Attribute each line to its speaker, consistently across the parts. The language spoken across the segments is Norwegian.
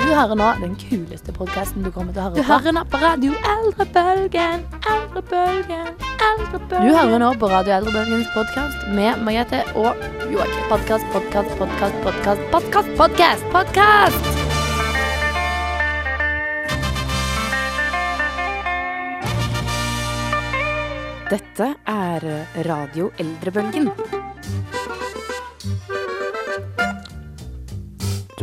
Speaker 1: Du hører nå den kuleste podkasten du kommer til å høre på. Du hører nå på Radio Eldrebølgen, Eldrebølgen, Eldrebølgen. Du hører nå på Radio Eldrebølgens podkast med Margrethe og Joakim. Podkast, podkast, podkast, podkast, podkast, podkast, podkast!
Speaker 2: Dette er Radio Eldrebølgen.
Speaker 3: Du,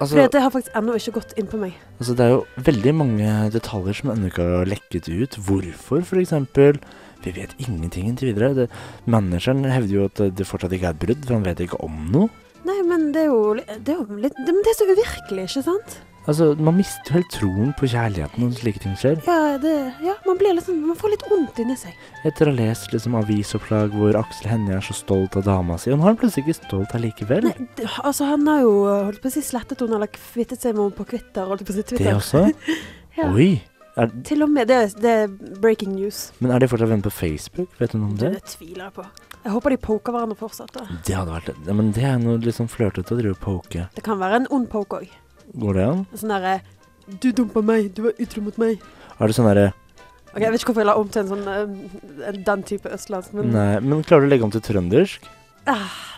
Speaker 3: altså,
Speaker 4: Fordi at det har faktisk ennå ikke gått inn på meg.
Speaker 3: altså, det er jo veldig mange detaljer som ennå ikke har lekket ut. Hvorfor, for eksempel? Vi vet ingenting inntil videre. Det, manageren hevder jo at det fortsatt ikke er et brudd, for han vet ikke om noe.
Speaker 4: Nei, men det er jo, li- det er jo litt det, Men det er så uvirkelig, ikke sant?
Speaker 3: Altså, Man mister jo helt troen på kjærligheten når slike ting skjer.
Speaker 4: Ja, det, ja man blir litt sånn Man får litt vondt inni seg.
Speaker 3: Etter å ha lest liksom, avisoppslag hvor Aksel Hennie er så stolt av dama si, og nå er han plutselig ikke stolt allikevel.
Speaker 4: Nei, det, altså, han har jo holdt på å si slettet henne, eller kvittet seg med henne på Twitter. Holdt på å si
Speaker 3: det
Speaker 4: Twitter.
Speaker 3: også?
Speaker 4: Ja.
Speaker 3: Oi! Er,
Speaker 4: Til og med. Det, er- det er breaking news.
Speaker 3: men er de fortsatt venner på Facebook? Vet du noe om
Speaker 4: Det,
Speaker 3: det?
Speaker 4: det tviler jeg på. Jeg håper de poker hverandre fortsatt. da.
Speaker 3: Det hadde vært ja, Men det er noe litt sånn flørtete å drive og poke.
Speaker 4: Det kan være en ond poke òg.
Speaker 3: Går det an?
Speaker 4: Sånn derre Du dumpa meg, du var utro mot meg.
Speaker 3: Er det sånn derre
Speaker 4: Ok, Jeg vet ikke hvorfor jeg la om til en sånn eh, en- den type østlandsk, men
Speaker 3: Nei, men klarer du å legge om til trøndersk?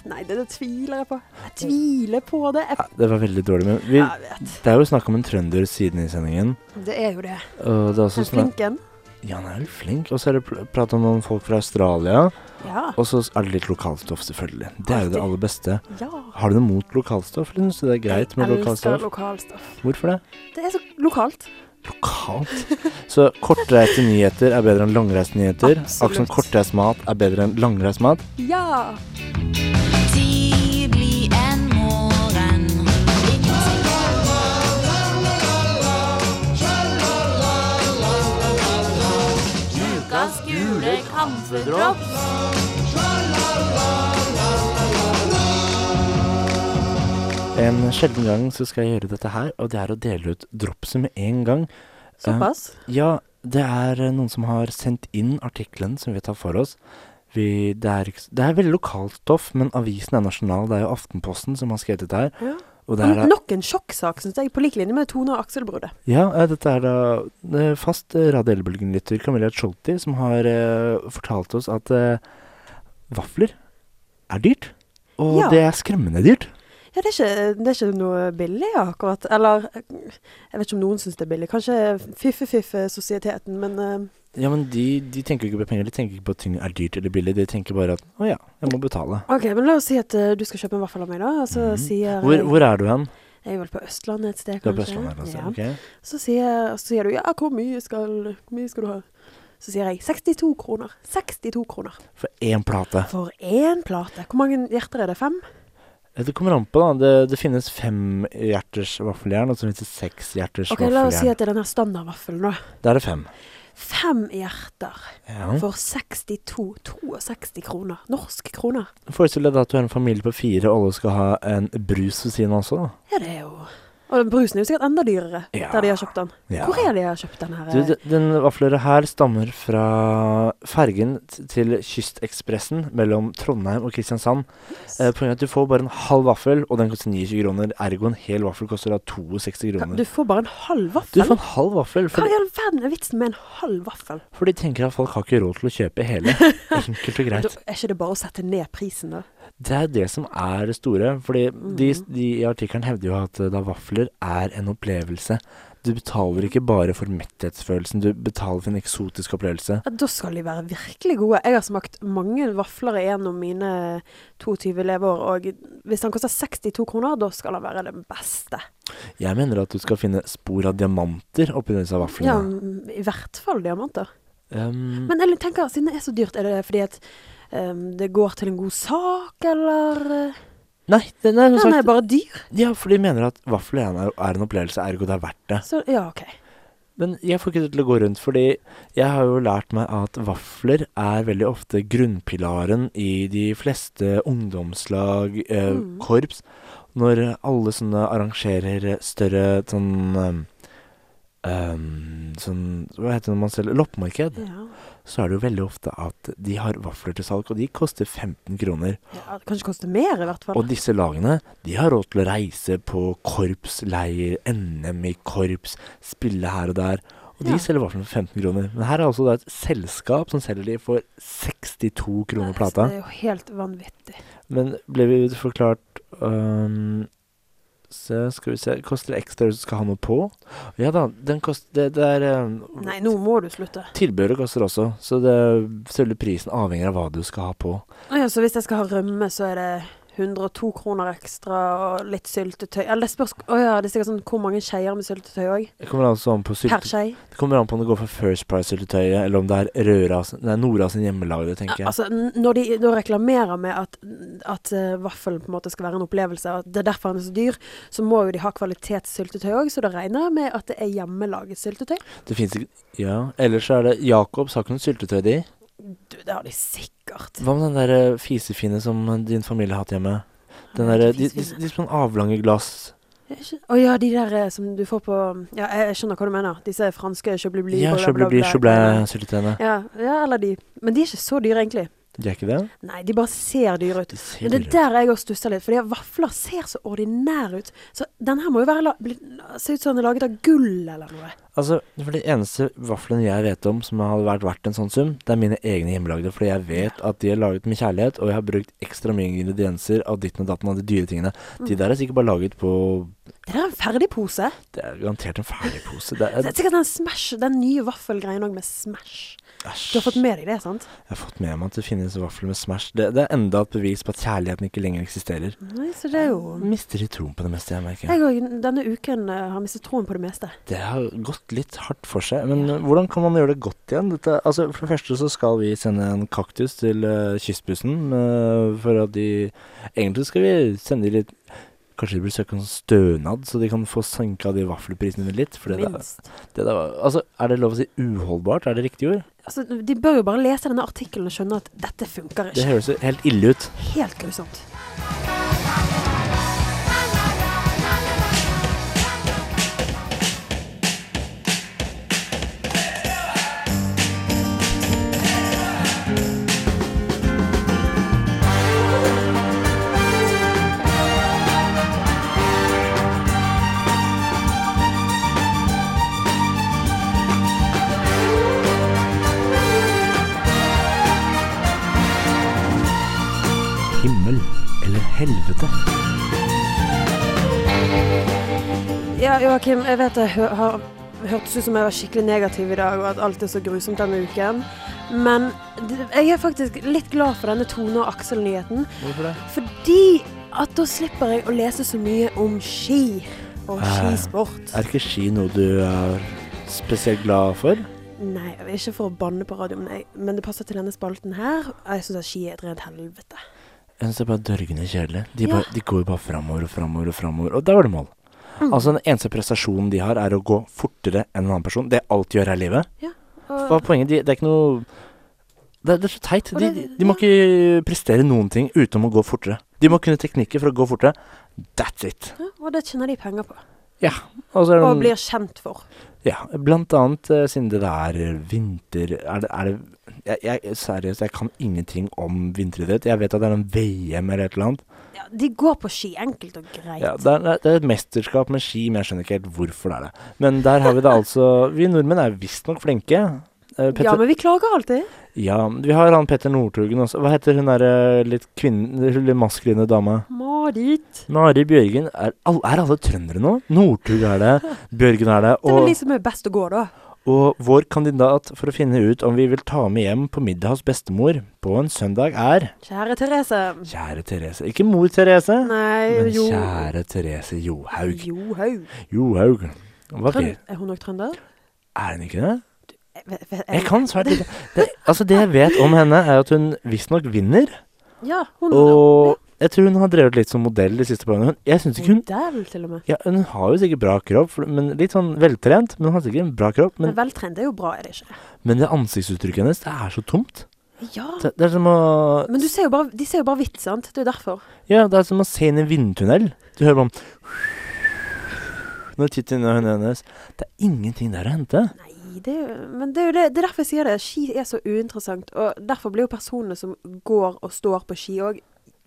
Speaker 4: Nei, det, det tviler jeg på. Jeg tviler på det. Jeg,
Speaker 3: Nei, det var veldig dårlig, men vi,
Speaker 4: jeg vet.
Speaker 3: Det er jo snakk om en trønder siden i sendingen.
Speaker 4: Det er jo det.
Speaker 3: Og det er også
Speaker 4: Den
Speaker 3: snakk
Speaker 4: flinken.
Speaker 3: Ja, han er jo flink. Og så er det pl- prat om noen folk fra Australia.
Speaker 4: Ja.
Speaker 3: Og så er det litt lokalstoff, selvfølgelig. Det er jo det
Speaker 4: Alltid.
Speaker 3: aller beste.
Speaker 4: ja.
Speaker 3: Har du noe mot lokalstoff? Eller syns du det er greit med
Speaker 4: Jeg
Speaker 3: lokalstoff?
Speaker 4: Elsker lokalstoff.
Speaker 3: Hvorfor det?
Speaker 4: Det er så lokalt.
Speaker 3: Lokalt? Så kortreiste nyheter er bedre enn langreiste nyheter.
Speaker 4: Absolutt.
Speaker 3: Akkurat som kortreist mat er bedre enn langreist mat.
Speaker 4: Ja.
Speaker 5: Tidlig en morgen Ukas gule kaffedrops
Speaker 3: En sjelden gang så skal jeg gjøre dette her, og det er å dele ut dropset med en gang. Eh,
Speaker 4: Såpass.
Speaker 3: Ja, det er eh, noen som har sendt inn artikkelen som vi tar for oss. Vi, det, er, ikke s- det er veldig lokalt stoff, men avisen er nasjonal. Det er jo Aftenposten som har skrevet dette her.
Speaker 4: Ja.
Speaker 3: Og det er da
Speaker 4: Nok en sjokksak, syns jeg, på lik linje med Tone og Aksel-bruddet.
Speaker 3: Ja, eh, dette er da eh, fast eh, Radio Elbølgen-lytter Camilla Cholti som har eh, fortalt oss at eh, vafler er dyrt. Og
Speaker 4: Ja.
Speaker 3: det er skremmende dyrt.
Speaker 4: Ja, det er, ikke, det er ikke noe billig akkurat. Eller eh, jeg vet ikke om noen syns det er billig. Kanskje Fiffe-Fiffe-sosieteten, men eh,
Speaker 3: Ja, men de, de tenker jo ikke på penger. De tenker ikke på at ting er dyrt eller billig. De tenker bare at å ja, jeg må betale.
Speaker 4: OK, men la oss si at eh, du skal kjøpe en vaffel av meg, da. Og så
Speaker 3: Mhm.
Speaker 4: sier
Speaker 3: Hvor, hvor er du hen?
Speaker 4: Jeg er vel på Østlandet et
Speaker 3: Du
Speaker 4: sted, kanskje.
Speaker 3: er på Østlandet? altså,
Speaker 4: Ja.
Speaker 3: ok.
Speaker 4: Så, sier, så sier du ja, hvor mye, skal, hvor mye skal du ha? Så sier jeg 62 kroner. 62 kroner.
Speaker 3: For én plate.
Speaker 4: For én plate. Hvor mange hjerter er det? Fem?
Speaker 3: Eh, Det kommer an på, da. Det, det finnes femhjerters vaffeljern, og så finnes det sekshjerters
Speaker 4: OK, la oss si
Speaker 3: vaffeljern.
Speaker 4: at det er denne standardvaffelen, da.
Speaker 3: Da er det fem.
Speaker 4: Fem hjerter
Speaker 3: Ja.
Speaker 4: for 62 62 kroner. Norske kroner.
Speaker 3: Forestill deg da at du er en familie på fire, og alle skal ha en brus ved siden av også. da.
Speaker 4: Ja, det er jo Og den brusen er jo sikkert enda dyrere
Speaker 3: Ja.
Speaker 4: der de har kjøpt den.
Speaker 3: Ja.
Speaker 4: Hvor er de har kjøpt den her?
Speaker 3: Du, de- den vaffeløra her stammer fra fergen t- til Kystekspressen mellom Trondheim og Kristiansand. Eh, poenget er at du får bare en halv vaffel, og den koster 29 kroner. Ergo en hel vaffel koster da 62
Speaker 4: Kan-
Speaker 3: kroner.
Speaker 4: du får bare en halv
Speaker 3: Du
Speaker 4: vaffel?
Speaker 3: får en halv vaffel,
Speaker 4: Hva
Speaker 3: for,
Speaker 4: i all verden er vitsen med en halv vaffel?
Speaker 3: for de tenker at folk har ikke råd til å kjøpe hele. Enkelt og
Speaker 4: Da,
Speaker 3: greit.
Speaker 4: er ikke det bare å sette ned prisen, da?
Speaker 3: Det er det som er det store. Fordi de, de i artikkelen hevder jo at eh, da vafler er en opplevelse. Du betaler ikke bare for metthetsfølelsen, du betaler for en eksotisk opplevelse.
Speaker 4: Ja, da skal de være virkelig gode. Jeg har smakt mange vafler gjennom mine 22 leveår, og hvis den koster 62 kroner, da skal den være den beste.
Speaker 3: Jeg mener at du skal finne spor av diamanter oppi disse
Speaker 4: Ja, Mm.
Speaker 3: vaflene.
Speaker 4: m- i hvert fall diamanter.
Speaker 3: Um,
Speaker 4: Men jeg tenker, siden det er så dyrt, er det fordi at ehm, det går til en god sak, eller eh,
Speaker 3: nei, den er som
Speaker 4: Den er
Speaker 3: sagt
Speaker 4: bare dyr.
Speaker 3: Ja, for de mener at vafler er en, er en opplevelse, ergo det er verdt det.
Speaker 4: Så ja, OK.
Speaker 3: Men jeg får ikke det til å gå rundt, fordi jeg har jo lært meg at vafler er veldig ofte grunnpilaren i de fleste ungdomslag, eh,
Speaker 4: Mm.
Speaker 3: korps. Når alle sånne arrangerer større sånn eh, ehm, Sånn Hva heter det når man selger loppemarked?
Speaker 4: Ja.
Speaker 3: Så er det jo veldig ofte at de har vafler til salg, og de koster 15 kroner.
Speaker 4: Ja, det kanskje koster mer, i hvert fall.
Speaker 3: Og disse lagene de har råd til å reise på korpsleir, NM i korps, spille her og der. Og de
Speaker 4: Ja.
Speaker 3: selger vaflene for 15 kroner. Men her er altså da et selskap som selger de for 62 kroner plata.
Speaker 4: Altså, Det er jo helt vanvittig.
Speaker 3: Men ble vi forklart øhm, Se, skal vi se Koster det ekstra hvis du skal ha noe på? Ja da, den kost, det, det er øhm,
Speaker 4: Nei, nå må du slutte.
Speaker 3: Tilbehøret koster også, så det, selve prisen avhenger av hva du skal ha på.
Speaker 4: Å Ja, så hvis jeg skal ha rømme, så er det 102 kroner ekstra og litt syltetøy. Eller det spørs Å ja, det er sikkert sånn hvor mange skeier med syltetøy òg.
Speaker 3: Det kommer altså an på sylte-
Speaker 4: Per skei.
Speaker 3: Det kommer an på om det går for First Price-syltetøyet, eller om det er Røra, sin- nei, Nora sin hjemmelagde, tenker jeg.
Speaker 4: Altså, n- når de da reklamerer med at, at eh, vaffelen på en måte skal være en opplevelse, og at det er derfor den er så dyr, så må jo de ha kvalitetssyltetøy òg, så da regner jeg med at det er hjemmelaget syltetøy.
Speaker 3: Det fins ikke Ja. Ellers så er det Jacobs har ikke noe syltetøy, de.
Speaker 4: Du, det har de sikkert.
Speaker 3: Hva med den der eh, fisefine som din familie har hatt hjemme? Den der, de, de, de, de sånn avlange glass
Speaker 4: Jeg skjøn- Å ja, de der eh, som du får på Ja, jeg, jeg skjønner hva du mener. Disse franske chablis bli
Speaker 3: Ja, Chablis-syltetøyene.
Speaker 4: Ja, ja, eller de. Men de er ikke så dyre, egentlig.
Speaker 3: De er ikke det?
Speaker 4: Nei, de bare ser dyre ut.
Speaker 3: De ser
Speaker 4: Men det er
Speaker 3: dyre ut.
Speaker 4: der jeg også stusser litt, fordi at vafler ser så ordinære ut. Så den her må jo være la, bli, se ut som den er laget av gull eller noe.
Speaker 3: Altså, for de eneste vaflene jeg vet om som hadde vært verdt en sånn sum, det er mine egne hjemmelagde. Fordi jeg vet at de er laget med kjærlighet, og jeg har brukt ekstra mye ingredienser av ditten og datten av de dyre tingene. De der er sikkert bare laget på
Speaker 4: Mm. Det der er en ferdig pose.
Speaker 3: Det er garantert en ferdigpose. Det
Speaker 4: Det
Speaker 3: er,
Speaker 4: er sikkert den smash, den nye vaffelgreien òg med smash. Du har fått med deg det, sant?
Speaker 3: Jeg har fått med meg at det finnes vafler med Smash. Det, det er enda et bevis på at kjærligheten ikke lenger eksisterer.
Speaker 4: Nei, så det er jo
Speaker 3: Mister litt troen på det meste, jeg merker.
Speaker 4: Mm. Jeg òg denne uken eh, har mistet troen på det meste.
Speaker 3: Det har gått litt hardt for seg. Men eh, hvordan kan man gjøre det godt igjen? Dette, altså, for det første så skal vi sende en kaktus til eh, kystbussen eh, for at de Egentlig skal vi sende de litt Kanskje de burde søke om stønad, så de kan få sanka de vaffelprisene litt. For det, der-
Speaker 4: Minst.
Speaker 3: det der var Altså, er det lov å si uholdbart? Er det riktig ord?
Speaker 4: Altså, de bør jo bare lese denne artikkelen og skjønne at dette funker
Speaker 3: Det
Speaker 4: ikke.
Speaker 3: høres jo helt ille ut.
Speaker 4: Helt grusomt.
Speaker 3: Himmel eller helvete?
Speaker 4: Ja, Joakim, jeg vet det hø har hørtes ut som jeg var skikkelig negativ i dag, og at alt er så grusomt denne uken. Men d- jeg er faktisk litt glad for denne Tone og Aksel-nyheten,
Speaker 3: Hvorfor det?
Speaker 4: fordi at da slipper jeg å lese så mye om ski og
Speaker 3: Eh,
Speaker 4: skisport.
Speaker 3: Er ikke ski noe du er spesielt glad for?
Speaker 4: Nei, jeg vil ikke for å banne på radio, men, jeg, men det passer til denne spalten her. og Jeg syns at ski er et rent helvete.
Speaker 3: Jeg syns det er bare dørgende kjedelig. De,
Speaker 4: Ja.
Speaker 3: bare, de går jo bare framover og framover og framover, og der var det mål. Altså Den eneste prestasjonen de har, er å gå fortere enn en annen person. Det alt gjør her i livet. Hva
Speaker 4: Og,
Speaker 3: er poenget? De, det er ikke noe det, er- det er så teit.
Speaker 4: Og
Speaker 3: De,
Speaker 4: det-
Speaker 3: de må ikke prestere noen ting utenom å gå fortere. De må kunne teknikker for å gå fortere. That's it.
Speaker 4: ja, og det tjener de penger på.
Speaker 3: Og så er det
Speaker 4: Og
Speaker 3: noen-
Speaker 4: blir kjent for.
Speaker 3: Ja, blant annet eh, siden det er vinter... Er det, er det jeg, jeg, Seriøst, jeg kan ingenting om vinteridrett. Jeg vet at det er en VM eller et eller annet.
Speaker 4: Ja, de går på ski, enkelt og greit.
Speaker 3: Ja, det, er, det er et mesterskap med ski, men jeg skjønner ikke helt hvorfor det er det. Men der har vi det altså Vi nordmenn er visstnok flinke. Eh,
Speaker 4: ja,
Speaker 3: Petter,
Speaker 4: men vi klager alltid.
Speaker 3: ja, vi har han Petter Northugen også. Hva heter hun derre litt kvinnen... Hun litt maskuline dama?
Speaker 4: Marit.
Speaker 3: Mari Bjørgen. Er, all, er alle trøndere nå? Northug er det. Bjørgen er det.
Speaker 4: Det er vel de som er best å gå, da.
Speaker 3: Og vår kandidat for å finne ut om vi vil ta med hjem på middag hos bestemor på en søndag er
Speaker 4: Kjære Therese.
Speaker 3: Kjære Therese. Ikke mor Therese,
Speaker 4: Nei,
Speaker 3: men
Speaker 4: jo.
Speaker 3: kjære Therese Johaug.
Speaker 4: Johaug.
Speaker 3: Johaug. Hva
Speaker 4: Trøn-
Speaker 3: vet
Speaker 4: Er hun nok trønder?
Speaker 3: Er hun ikke det?
Speaker 4: Jeg vet- vet-
Speaker 3: Jeg kan svært lite. Det, altså, det jeg vet om henne, er at hun visstnok vinner.
Speaker 4: Ja, hun
Speaker 3: Og Jeg tror hun har drevet litt som modell de siste par årene. Hun- Jeg synes ikke hun
Speaker 4: Modell, til og med.
Speaker 3: ja, Hun har jo sikkert bra kropp, for, men litt sånn veltrent. Men hun har sikkert en bra kropp.
Speaker 4: Men
Speaker 3: Men,
Speaker 4: veltrent er jo bra, er det ikke?
Speaker 3: men det ansiktsuttrykket hennes, det er så tomt.
Speaker 4: Ja.
Speaker 3: Det, det er som å
Speaker 4: Men du ser jo bare, de ser jo bare vits, sant? Det er jo derfor.
Speaker 3: Ja, det er som å se inn i en vindtunnel. Du hører bare Når du titter inn i øynene hennes Det er ingenting der å hente.
Speaker 4: Nei, det er jo Men det er jo det, det er derfor jeg sier det. Ski er så uinteressant. Og derfor blir jo personene som går og står på ski òg,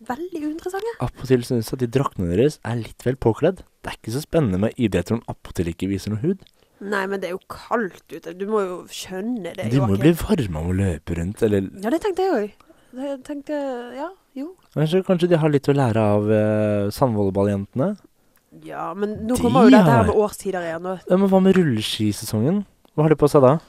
Speaker 4: veldig uinteressante.
Speaker 3: Appåtil synes jeg at de draktene deres er litt vel påkledd. Det er ikke så spennende med idretter om appåtil ikke viser noe hud.
Speaker 4: Nei, men det er jo kaldt ute. Du må jo skjønne det.
Speaker 3: De må jo
Speaker 4: Joakim.
Speaker 3: bli varme av å løpe rundt, eller
Speaker 4: Ja, det tenkte jeg òg. Jeg tenkte Ja, jo.
Speaker 3: kanskje, kanskje de har litt å lære av eh, sandvolleyballjentene?
Speaker 4: Ja, men nå
Speaker 3: De
Speaker 4: kommer jo dette her
Speaker 3: har-
Speaker 4: med årstider igjen. Og
Speaker 3: Ja, Men hva med rulleskisesongen? Hva har de på seg da?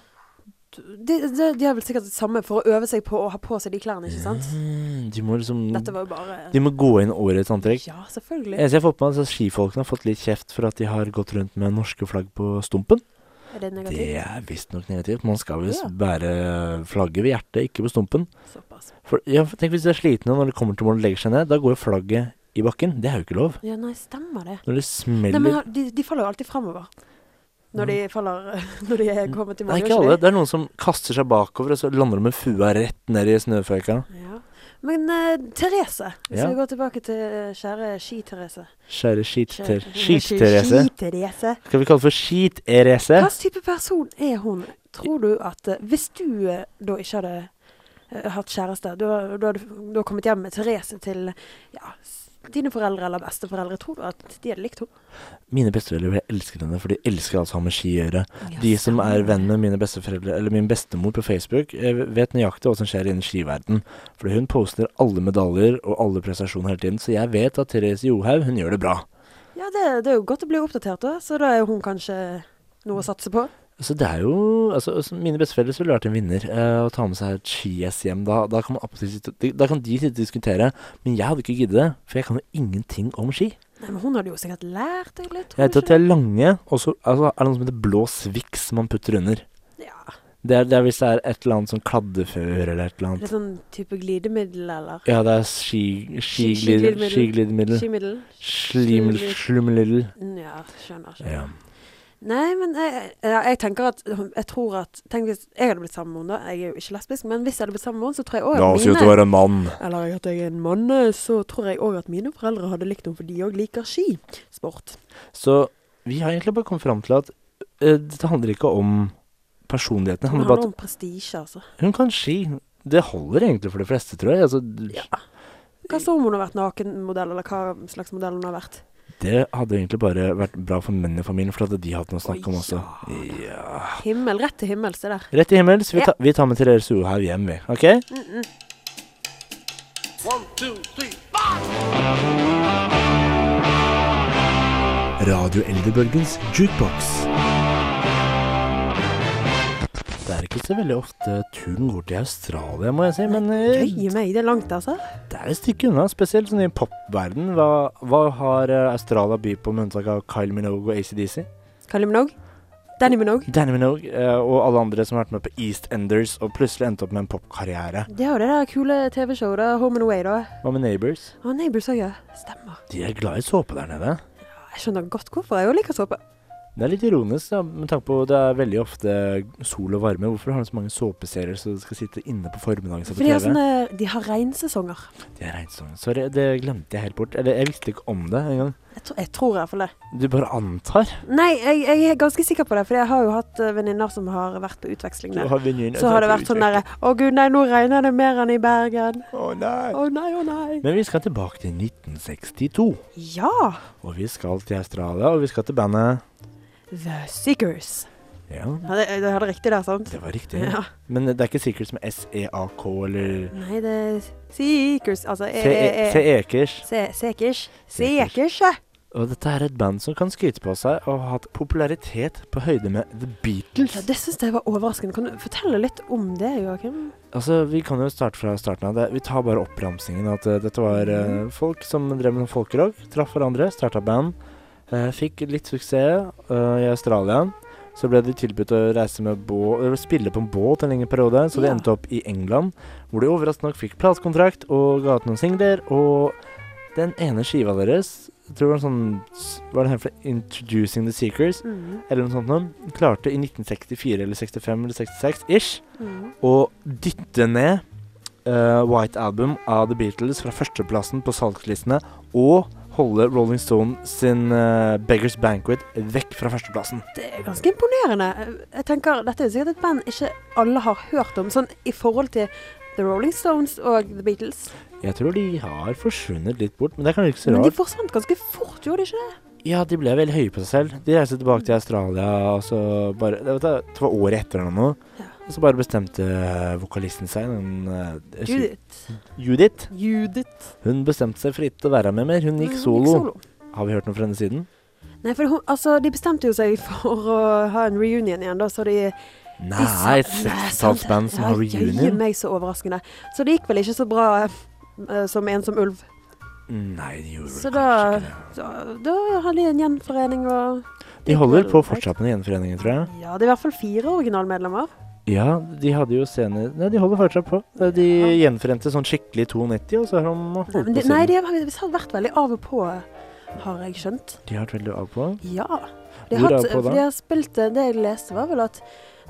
Speaker 4: de, de, de har vel sikkert det samme for å øve seg på å ha på seg de klærne, ikke sant?
Speaker 3: Mm, de må liksom
Speaker 4: Dette var jo bare
Speaker 3: De må gå inn årets antrekk.
Speaker 4: Ja, selvfølgelig.
Speaker 3: Jeg ser for meg at skifolkene har fått litt kjeft for at de har gått rundt med norske flagg på stumpen. Eh,
Speaker 4: Er det
Speaker 3: Det
Speaker 4: negativt?
Speaker 3: er visstnok negativt. Man skal visst
Speaker 4: Ja.
Speaker 3: bære flagget ved hjertet, ikke på stumpen.
Speaker 4: Såpass.
Speaker 3: For, ja, for tenk hvis de er slitne når de kommer til morgen og legger seg ned. Da går jo flagget i bakken. Det er jo ikke lov.
Speaker 4: Ja, nei, stemmer det.
Speaker 3: Når det
Speaker 4: Nei,
Speaker 3: smeller
Speaker 4: men har- de, de faller jo alltid framover. Når de faller Når de er kommet i
Speaker 3: Mm. Nei,
Speaker 4: mål.
Speaker 3: ikke alle. Det er noen som kaster seg bakover, og så lander de med fua rett ned i snøføyka.
Speaker 4: Ja. Men eh, Therese, hvis
Speaker 3: Ja.
Speaker 4: vi går tilbake til eh, kjære Ski-Therese
Speaker 3: Skjære
Speaker 4: Kjære-
Speaker 3: skit-Therese.
Speaker 4: Ski-Therese.
Speaker 3: Skal vi kalle det for skit-Erese?
Speaker 4: Hva slags type person er hun? Tror du at eh, Hvis du eh, da ikke hadde eh, hatt kjæreste, da da hadde du hadde kommet hjem med Therese til ja, s- dine foreldre eller besteforeldre, tror du at de hadde likt henne?
Speaker 3: Mine besteforeldre elsker henne, for de elsker alt som har med ski å gjøre. De som er venn med mine besteforeldre, eller min bestemor på Facebook, eh, vet nøyaktig hva som skjer innen skiverden. Fordi hun poster alle medaljer og alle prestasjoner hele tiden, så jeg vet at Therese Johaug, hun gjør det bra.
Speaker 4: Ja, det, det er jo godt å bli oppdatert, da, så da er hun kanskje noe å satse på.
Speaker 3: Så det er jo altså, altså, Mine besteforeldre skulle vært en vinner. eh, Å ta med seg et ski-S hjem, da, da, kan man absolutt sitte, de- da kan de sitte og diskutere. Men jeg hadde ikke giddet det, for jeg kan jo ingenting om ski.
Speaker 4: Nei, men Hun hadde jo sikkert lært deg litt,
Speaker 3: Jeg
Speaker 4: tror
Speaker 3: vet at
Speaker 4: du ikke?
Speaker 3: de er lange, og så altså, er det noe som heter blå sviks man putter under.
Speaker 4: det? Ja,
Speaker 3: Det er, det er hvis det er et eller annet sånn kladdefør eller et eller annet.
Speaker 4: Litt sånn type glidemiddel, eller?
Speaker 3: Ja, det er ski, skiglid,
Speaker 4: skiglidemiddel.
Speaker 3: skiglidemiddel.
Speaker 4: Skimiddel?
Speaker 3: Slimel,
Speaker 4: Skimel-
Speaker 3: slumlidel.
Speaker 4: Mm, Ja, skjønner. skjønner.
Speaker 3: Ja.
Speaker 4: Nei, men jeg, ja, jeg tenker at Jeg tror at Tenk hvis jeg hadde blitt sammen med henne, da. Jeg er jo ikke lesbisk, men hvis jeg hadde blitt sammen med henne, så tror jeg òg at mine
Speaker 3: være en mann.
Speaker 4: Eller at jeg er en mann, så tror jeg òg at mine foreldre hadde likt henne, for de òg liker skisport.
Speaker 3: Så vi har egentlig bare kommet fram til at eh, dette handler ikke om personligheten. Det
Speaker 4: Det
Speaker 3: handler bare
Speaker 4: handler
Speaker 3: om
Speaker 4: om prestisje, altså.
Speaker 3: at hun kan ski. Det holder egentlig for de fleste, tror jeg. Altså,
Speaker 4: Hva så om hun har vært nakenmodell, eller hva slags modell hun har vært?
Speaker 3: Det hadde egentlig bare vært bra for menn i familien, for at de hadde noe å snakke om også. Ja.
Speaker 4: Himmel, rett til himmels, det der.
Speaker 3: Rett i himmels. Vi,
Speaker 4: Ja.
Speaker 3: ta, vi tar med Therese Johaug hjem, vi. OK?
Speaker 6: Radio Eldrebølgens jukebox.
Speaker 3: Det er ikke så veldig ofte turen går til Australia, må jeg si, men eh,
Speaker 4: Gøye meg, det er langt, altså.
Speaker 3: det er et stykke unna. Spesielt sånn i popverden. Hva, hva har eh, Australia å by på med unntak av Kyle Minogue og ACDC?
Speaker 4: Kylie Minogue? Danny Minogue?
Speaker 3: Danny Minogue eh, og alle andre som har vært med på East Enders og plutselig endte opp med en popkarriere.
Speaker 4: Det er jo det der kule TV-showet, da. Home and Away, da.
Speaker 3: Hva med Neighbors?
Speaker 4: Og Neighbors òg, ja. Stemmer.
Speaker 3: De er glad i såpe der nede.
Speaker 4: Jeg skjønner godt hvorfor jeg òg liker såpe.
Speaker 3: Det er litt ironisk, da, med tanke på det er veldig ofte sol og varme. Hvorfor har de så mange såpeserier som skal sitte inne på formiddagen?
Speaker 4: For de har sånne De har regnsesonger.
Speaker 3: Det er regnsesongen. Sorry, det glemte jeg helt bort. Eller jeg visste ikke om det engang.
Speaker 4: Jeg, tro, jeg tror i hvert fall det.
Speaker 3: Du bare antar.
Speaker 4: Nei, jeg, jeg er ganske sikker på det, for jeg har jo hatt eh, venninner som har vært på utveksling
Speaker 3: Du
Speaker 4: der.
Speaker 3: har venninner
Speaker 4: Så har
Speaker 3: som
Speaker 4: det
Speaker 3: er
Speaker 4: vært
Speaker 3: på
Speaker 4: sånn derre Å gud, nei, nå regner det mer enn i Bergen.
Speaker 3: utveksling. Å nei.
Speaker 4: Å nei, å nei.
Speaker 3: Men vi skal tilbake til 1962.
Speaker 4: Ja.
Speaker 3: Og vi skal til Australia, og vi skal til bandet
Speaker 4: The Seekers.
Speaker 3: Ja,
Speaker 4: Ja, det, jeg hadde riktig der, sant?
Speaker 3: det var riktig.
Speaker 4: Ja.
Speaker 3: Men det er ikke sikkert som SEAK eller
Speaker 4: Nei, det er Seekers. Altså e,
Speaker 3: Se-
Speaker 4: e, e.
Speaker 3: Seekers.
Speaker 4: Se, Sekers.
Speaker 3: Seekers.
Speaker 4: Sekers.
Speaker 3: Og dette er et band som kan skryte på seg og har hatt popularitet på høyde med The
Speaker 4: Ja,
Speaker 3: Beatles.
Speaker 4: det syns jeg var overraskende. Kan du fortelle litt om det, Joakim?
Speaker 3: Altså, Vi kan jo starte fra starten av. det. Vi tar bare oppramsingen. At eh, dette var
Speaker 4: Mm.
Speaker 3: eh, folk som drev med folkerock, traff hverandre, starta band. eh, fikk litt suksess eh, i Australia. Så ble de tilbudt å reise med bå eller spille på en båt en lengre periode, så de
Speaker 4: Ja.
Speaker 3: endte opp i England. Hvor de overraskende nok fikk platekontrakt og ga ut noen singler. Og Den ene skiva deres, jeg tror det var en sånn s- Var det hemfla Introducing the Seekers,
Speaker 4: Mm.
Speaker 3: eller noe sånt noe, klarte i 1964 eller 65 eller 66 ish
Speaker 4: Mm.
Speaker 3: å dytte ned eh, White Album av The Beatles fra førsteplassen på salgslistene og holde Rolling Stone sin eh, Beggars Banquet vekk fra førsteplassen.
Speaker 4: Det er ganske imponerende. Jeg tenker, Dette er sikkert et band ikke alle har hørt om, sånn i forhold til The Rolling Stones og The Beatles.
Speaker 3: Jeg tror de har forsvunnet litt bort, men det er kanskje ikke så
Speaker 4: Men de
Speaker 3: rart.
Speaker 4: forsvant ganske fort, gjorde de ikke det?
Speaker 3: Ja, de ble veldig høye på seg selv. De reiste tilbake til Australia, og så bare Det, vet du, det var året etter eller noe.
Speaker 4: Ja.
Speaker 3: Og så bare bestemte eh, vokalisten seg, den eh,
Speaker 4: Judith.
Speaker 3: Judith,
Speaker 4: Judith.
Speaker 3: hun bestemte seg for ikke å være med mer. Hun gikk solo. Har vi hørt noe fra henne siden?
Speaker 4: Nei, for hun, altså, de bestemte jo seg for å ha en reunion igjen, da, så de
Speaker 3: Nei, et sekstallsband som har
Speaker 4: Jøye
Speaker 3: reunion?
Speaker 4: meg så overraskende. Så det gikk vel ikke så bra eh, som en som ulv.
Speaker 3: Nei, de gjorde
Speaker 4: Så
Speaker 3: vel kanskje
Speaker 4: da-
Speaker 3: ikke det.
Speaker 4: Så da hadde de en gjenforening og
Speaker 3: De holder
Speaker 4: vel
Speaker 3: på
Speaker 4: greit.
Speaker 3: fortsatt med gjenforeningen, tror jeg.
Speaker 4: Ja, det er i hvert fall fire originalmedlemmer.
Speaker 3: Ja, de hadde jo senere Nei, de holder fortsatt på. Eh, De gjenforente sånn skikkelig i 92, og så har de holdt
Speaker 4: Nei,
Speaker 3: på
Speaker 4: men de,
Speaker 3: siden.
Speaker 4: nei, de har de har vært veldig av og på, har jeg skjønt.
Speaker 3: De har vært veldig av på.
Speaker 4: Ja. De
Speaker 3: Hvor
Speaker 4: har,
Speaker 3: av
Speaker 4: hatt,
Speaker 3: og på da?
Speaker 4: for de har spilt eh, Det jeg leste, var vel at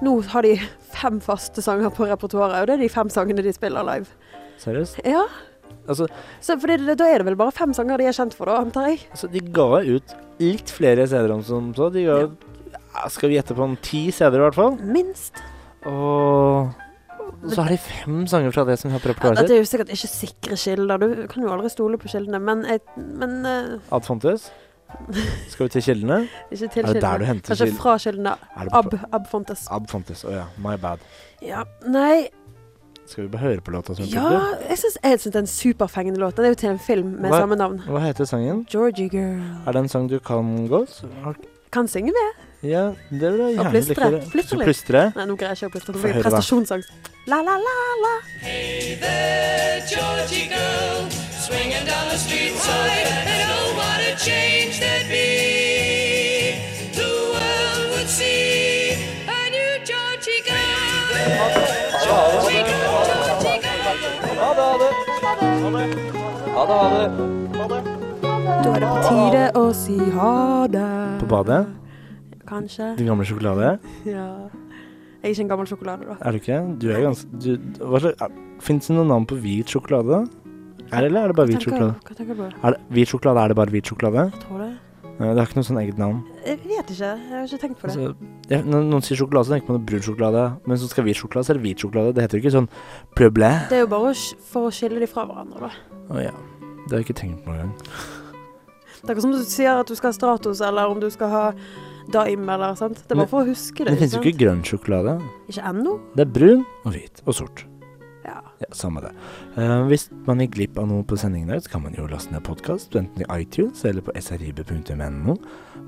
Speaker 4: nå har de fem faste sanger på repertoaret, og det er de fem sangene de spiller live.
Speaker 3: Seriøst.
Speaker 4: Ja,
Speaker 3: Altså,
Speaker 4: så for det, Da er det vel bare fem sanger de er kjent for, da, antar jeg.
Speaker 3: altså, de ga ut litt flere CD-er om som så. De ga ut ja, Skal vi gjette på en ti CD-er, i hvert fall.
Speaker 4: Minst.
Speaker 3: Og så har de fem sanger fra det som vi har på
Speaker 4: Ja,
Speaker 3: repertoaret sitt.
Speaker 4: dette er jo sikkert ikke sikre kilder, du kan jo aldri stole på kildene, men, jeg, men eh,
Speaker 3: Ad Fontes. Skal vi til kildene?
Speaker 4: ikke til
Speaker 3: Er det der du
Speaker 4: kildene.
Speaker 3: henter
Speaker 4: Kanskje
Speaker 3: kilden?
Speaker 4: fra kildene.
Speaker 3: Er det på-
Speaker 4: Ab, Ab Fontes.
Speaker 3: Ad Fontes. Å ja, my bad.
Speaker 4: Ja, nei,
Speaker 3: Skal vi bare høre på låta? som
Speaker 4: Ja,
Speaker 3: titler?
Speaker 4: jeg syns jeg synes det er en superfengende låt. Den er jo til en film med
Speaker 3: Hva-
Speaker 4: samme navn.
Speaker 3: Hva heter sangen?
Speaker 4: Georgie Girl.
Speaker 3: Er det en sang du kan gå?
Speaker 4: Kan synge med.
Speaker 3: Ja, det vil jeg
Speaker 4: Og
Speaker 3: gjerne
Speaker 4: plystre.
Speaker 3: like å høre.
Speaker 4: Plystre
Speaker 3: Så
Speaker 4: litt.
Speaker 3: Plystre.
Speaker 4: Nei, nå greier jeg ikke å plystre.
Speaker 3: Få
Speaker 4: Det
Speaker 3: høre,
Speaker 4: blir
Speaker 3: da.
Speaker 4: prestasjonssang. La, la, la, la.
Speaker 7: Georgie girl, swinging down the street side. And oh, what a change there'd be. The world would see a new Georgie girl. Georgie girl, Georgie girl.
Speaker 4: Da er det på tide å si ha det.
Speaker 3: På badet.
Speaker 4: Kanskje.
Speaker 3: Din gamle sjokolade.
Speaker 4: Ja. Jeg er ikke en gammel sjokolade, da.
Speaker 3: Er du ikke? Du er ganske du, hva slags, er, Finnes det noe navn på hvit sjokolade? Er det, eller er det bare hvit
Speaker 4: Tenker-
Speaker 3: sjokolade?
Speaker 4: Hva tenker du?
Speaker 3: Er det, hvit sjokolade, er det bare hvit sjokolade?
Speaker 4: Jeg tror det.
Speaker 3: Nei, Det har ikke noe sånn eget navn.
Speaker 4: Jeg vet ikke. Jeg har ikke tenkt på det.
Speaker 3: Altså, ja, når noen sier sjokolade, så tenker man brun sjokolade. Men så skal hvit sjokolade, så er det hvit sjokolade. Det heter jo ikke sånn pløble.
Speaker 4: Det er jo bare å sk- for å skille de fra hverandre, da.
Speaker 3: Å ja. Det har jeg ikke tenkt på engang.
Speaker 4: Det er ikke som du sier at du skal ha Stratos, eller om du skal ha Daim, eller sant. Det er
Speaker 3: Men-
Speaker 4: bare for å huske
Speaker 3: Men
Speaker 4: det.
Speaker 3: det finnes jo ikke grønn sjokolade.
Speaker 4: sant? Ikke ennå.
Speaker 3: Det er brun og hvit og sort.
Speaker 4: Ja.
Speaker 3: Ja, Samme det. Eh, hvis man gikk glipp av noe på sendingen, her, så kan man jo laste ned podkast, enten i iTunes eller på srib.no.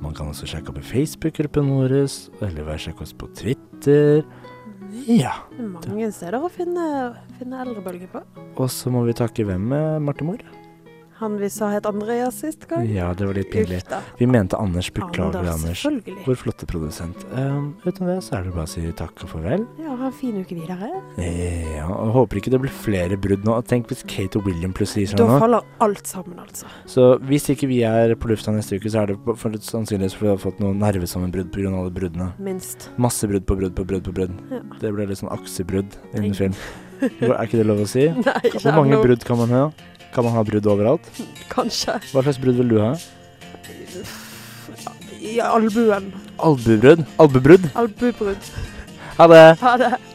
Speaker 3: Man kan også sjekke opp i Facebook-gruppen vår, eller bare sjekke oss på Twitter. Ja.
Speaker 4: Det er mange steder å finne, finne eldrebølger på.
Speaker 3: Og så må vi takke hvem, eh, Marte Mor?
Speaker 4: Han vi sa het Andreas sist gang.
Speaker 3: Ja, det var litt pinlig.
Speaker 4: Uff da.
Speaker 3: Vi mente Anders. Beklager,
Speaker 4: Anders,
Speaker 3: Anders.
Speaker 4: Selvfølgelig.
Speaker 3: Vår flotte produsent. Eh, utenom det så er det bare å si takk og farvel.
Speaker 4: Ja, ha en fin uke videre.
Speaker 3: Eh, Ja, og håper ikke det blir flere brudd nå. Tenk hvis Kate og William plutselig sier
Speaker 4: Da
Speaker 3: sånn nå.
Speaker 4: faller alt sammen, altså.
Speaker 3: Så hvis ikke vi er på lufta neste uke, så er det på- for sannsynligvis fordi vi har fått noen nervesammenbrudd pga. alle bruddene.
Speaker 4: Minst.
Speaker 3: Masse brudd på brudd på brudd på brudd.
Speaker 4: Ja.
Speaker 3: Det ble litt sånn aksebrudd innen
Speaker 4: Nei.
Speaker 3: film. Er ikke det lov å si?
Speaker 4: Nei, ikke
Speaker 3: Hvor mange
Speaker 4: ennå.
Speaker 3: brudd kan man ha? Kan man ha brudd overalt?
Speaker 4: Kanskje.
Speaker 3: Hva slags brudd vil du ha?
Speaker 4: I albuen.
Speaker 3: Albuebrudd. Albuebrudd.
Speaker 4: Albubrudd.
Speaker 3: Ha det!
Speaker 4: Ha det.